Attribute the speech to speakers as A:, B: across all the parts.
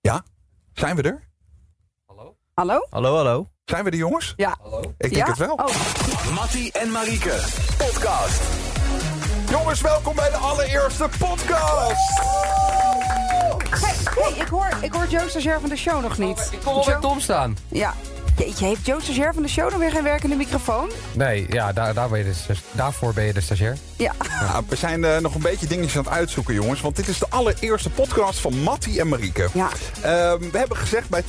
A: Ja? Zijn we er?
B: Hallo?
C: Hallo, hallo.
A: Zijn we er, jongens?
B: Ja.
A: Ik denk
B: ja?
A: het wel.
B: Oh,
D: Mattie en Marieke, podcast.
A: Jongens, welkom bij de allereerste podcast!
B: hey, hey, ik hoor, ik hoor Joe Stagiair van de show nog niet.
C: Ik kom al bij
B: Joe-
C: Tom staan.
B: Ja. Jeetje, heeft Joe Stagiair van de show dan weer geen werkende microfoon?
C: Nee, ja, daar, daar ben je de, sta- daarvoor ben je de stagiair.
B: Ja.
A: Ja, we zijn eh, nog een beetje dingetjes aan het uitzoeken, jongens. Want dit is de allereerste podcast van Mattie en Marieke.
B: Ja.
A: Ehm, we hebben gezegd, bij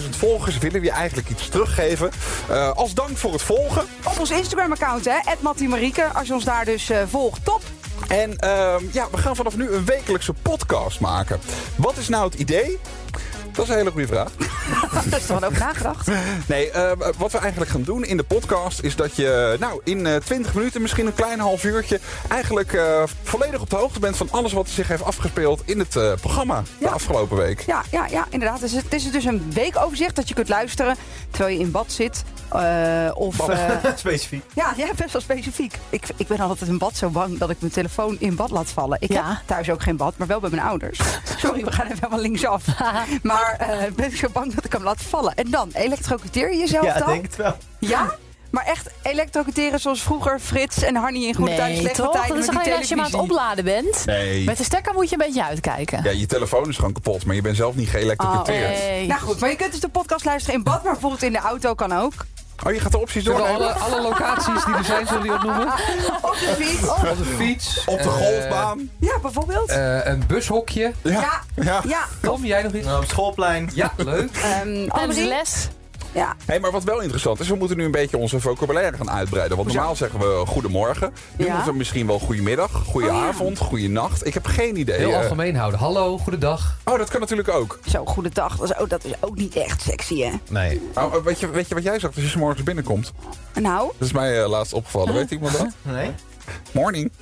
A: 200.000 volgers willen we je eigenlijk iets teruggeven. Eh, als dank voor het volgen.
B: Op ons Instagram-account, hè, @mattiemarieke. Als je ons daar dus eh, volgt, top.
A: En ehm, ja, we gaan vanaf nu een wekelijkse podcast maken. Wat is nou het idee? Dat is een hele goede vraag.
B: Dat is dan ook nagedacht.
A: Nee, eh, wat we eigenlijk gaan doen in de podcast is dat je nou, in eh 20 minuten, misschien een klein half uurtje, eigenlijk eh, volledig op de hoogte bent van alles wat zich heeft afgespeeld in het eh, programma de
B: Ja.
A: afgelopen week.
B: Ja, ja, ja, inderdaad. Dus het is dus een weekoverzicht dat je kunt luisteren terwijl je in bad zit. eh, of, eh,
D: Specifiek.
B: ja, ja, best wel specifiek. Ik, ik ben altijd in bad zo bang dat ik mijn telefoon in bad laat vallen. Ik
E: Ja.
B: heb thuis ook geen bad, maar wel bij mijn ouders. Sorry, we gaan even helemaal linksaf. Maar eh, ben ik zo bang dat ik hem laat vallen. En dan, elektrocuteer je jezelf
D: Ja, ik
B: dan?
D: denk het wel.
B: Ja? Maar echt elektrocuteren zoals vroeger Frits en Harnie in Goede Tijden, Slechte Tijden
E: Dat is
B: met die
E: alleen als je maar aan het
B: televisie.
E: opladen bent.
A: Nee.
E: Met de stekker moet je een beetje uitkijken.
A: Ja, je telefoon is gewoon kapot, maar je bent zelf niet geëlektrocuteerd. Oh,
E: Nee.
B: Nou goed, maar je kunt dus de podcast luisteren in bad, maar bijvoorbeeld in de auto kan ook.
A: Oh, je gaat de opties
C: Zullen we
A: doornemen?
C: alle, alle locaties die er zijn, zullen we die opnoemen?
B: Ah, Op de fiets. Oh,
C: Als een fiets.
A: Op de
C: eh,
A: golfbaan.
B: Ja, bijvoorbeeld.
C: eh, een bushokje.
B: ja,
A: ja.
B: ja.
C: Tom, jij nog iets?
D: Nou, op schoolplein.
C: Ja, leuk.
B: Ehm
E: Tijdens de
B: Annemarie?
E: les.
B: Ja,
A: Hey, maar wat wel interessant is, we moeten nu een beetje onze vocabulaire gaan uitbreiden. Want
B: Hoezo?
A: normaal zeggen we goedemorgen. Nu
B: Ja.
A: moeten we misschien wel goedemiddag, goedenavond, goedenacht. Ik heb geen idee.
C: Heel
A: eh.
C: algemeen houden. Hallo, goedendag.
A: Oh, dat kan natuurlijk ook.
B: zo, goedendag. Dat is, ook, dat is ook niet echt sexy, hè?
C: Nee.
A: Oh, weet, je, weet je wat jij zegt als je 's morgens binnenkomt?
B: Nou,
A: Dat is mij eh, laatst opgevallen. Weet iemand dat?
D: Nee?
A: Morning.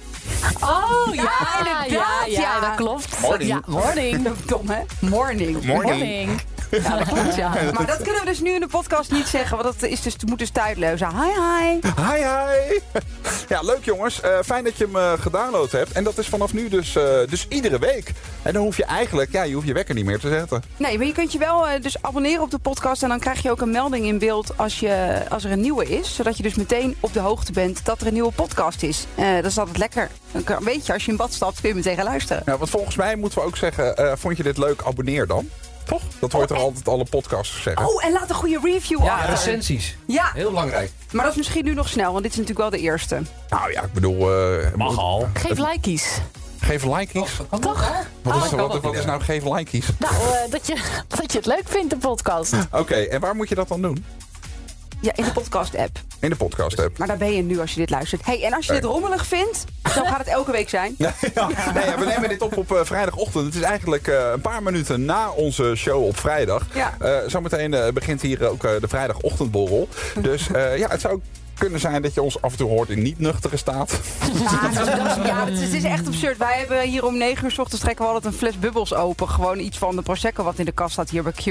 E: Oh, ja,
B: inderdaad,
E: Ja,
B: ja.
E: ja, dat klopt.
A: Morning.
E: Ja, morning.
B: dom, hè? Morning.
E: Morning. Ja, dat klopt, ja.
B: Maar dat kunnen we dus nu in de podcast niet zeggen, want dat is dus, moet dus tijdloos. zijn. Hi, hi.
A: Hi, hi. Ja, leuk jongens. Eh, fijn dat je hem eh, gedownload hebt. En dat is vanaf nu dus, eh, dus iedere week. En dan hoef je eigenlijk, ja, je hoeft je wekker niet meer te zetten.
B: Nee, maar je kunt je wel eh, dus abonneren op de podcast en dan krijg je ook een melding in beeld als, je, als er een nieuwe is. Zodat je dus meteen op de hoogte bent dat er een nieuwe podcast is. Eh, dat is altijd lekker. Dan kan- weet je, als je in bad stapt kun je meteen gaan luisteren.
A: Nou, want volgens mij moeten we ook zeggen, eh, vond je dit leuk, abonneer dan. Toch? Dat hoort er altijd alle podcasts zeggen.
B: Oh, en laat een goede review
C: Ja,
B: achter.
C: recensies.
B: Ja,
C: Heel belangrijk.
B: maar dat is misschien nu nog snel, want dit is natuurlijk wel de eerste.
A: Nou ja, ik bedoel... eh, moet-
D: al.
E: Geef likejes.
A: Geef likeies.
B: Oh,
E: Toch?
A: Wat, is,
C: kan
A: wat,
C: dat
A: wat is
C: ook.
A: nou geef likeies?
E: Nou, eh, dat, je, dat je het leuk vindt, de podcast.
A: Oké, en waar moet je dat dan doen?
B: Ja, in de podcast-app.
A: In de podcast app.
B: Maar daar ben je nu als je dit luistert. hey, en als je dit rommelig vindt, dan gaat het elke week zijn.
A: Ja, ja. Nee, ja, we nemen dit op op eh, vrijdagochtend. Het is eigenlijk eh, een paar minuten na onze show op vrijdag.
B: Ja.
A: Eh, zometeen eh, begint hier ook eh, de vrijdagochtendborrel. Dus eh, ja, het zou kunnen zijn dat je ons af en toe hoort in niet-nuchtere staat.
B: Ja, dat is- dat is- ja, het is, het is echt absurd. Wij hebben hier om 9 uur s ochtends trekken we altijd een fles bubbels open. Gewoon iets van de Prosecco wat in de kast staat hier bij Q.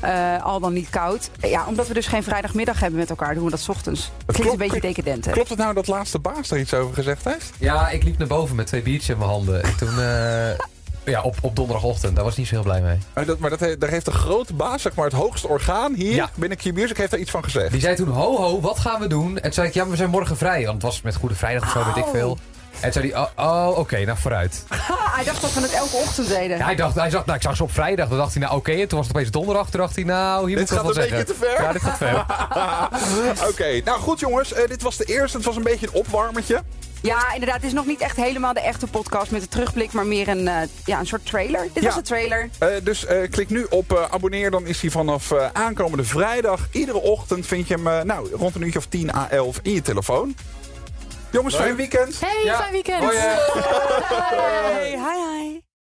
B: Eh, al dan niet koud. Ja, omdat we dus geen vrijdagmiddag hebben met elkaar, doen we dat 's ochtends. Het klinkt een
A: klopt.
B: beetje decadent, hè?
A: Klopt het nou dat laatste baas daar iets over gezegd heeft?
C: Ja, ik liep naar boven met twee biertjes in mijn handen. En toen, eh, ja, op, op donderdagochtend. Daar was ik niet zo heel blij mee.
A: Maar, Eh, dat, maar dat, he- daar heeft de grote baas, zeg maar het hoogste orgaan hier
C: Ja.
A: binnen Q Music, heeft daar iets van gezegd.
C: Die zei toen, ho ho, wat gaan we doen? En toen zei ik, ja, maar we zijn morgen vrij. Want het was met Goede Vrijdag of zo, weet ik veel. En toen zei hij, oh, oh, oké, nou vooruit.
B: Ha, hij dacht dat we het elke ochtend deden.
C: Ja, hij dacht, hij zag, nou, ik zag ze op vrijdag. Dan dacht hij, nou oké. En toen was het opeens donderdag. Toen dacht hij, nou, hier
A: Dit
C: moet ik
A: gaat
C: wat
A: een
C: zeggen.
A: beetje te ver.
C: Ja, dit gaat ver.
A: Oké, nou goed jongens, eh, dit was de eerste. Het was een beetje een opwarmertje.
B: Ja, inderdaad. Het is nog niet echt helemaal de echte podcast met een terugblik, maar meer een, eh, ja, een soort trailer.
A: Ja.
B: Dit was de trailer.
A: Eh, dus eh, klik nu op eh, abonneer, dan is hij vanaf eh, aankomende vrijdag. Iedere ochtend vind je hem eh, nou, rond een uurtje of 10 à 11 in je telefoon. Jongens, fijn weekend.
E: Hey,
C: Ja.
E: fijn weekend.
C: Hoi, eh.
E: Bye.
B: Hey, hi, hi.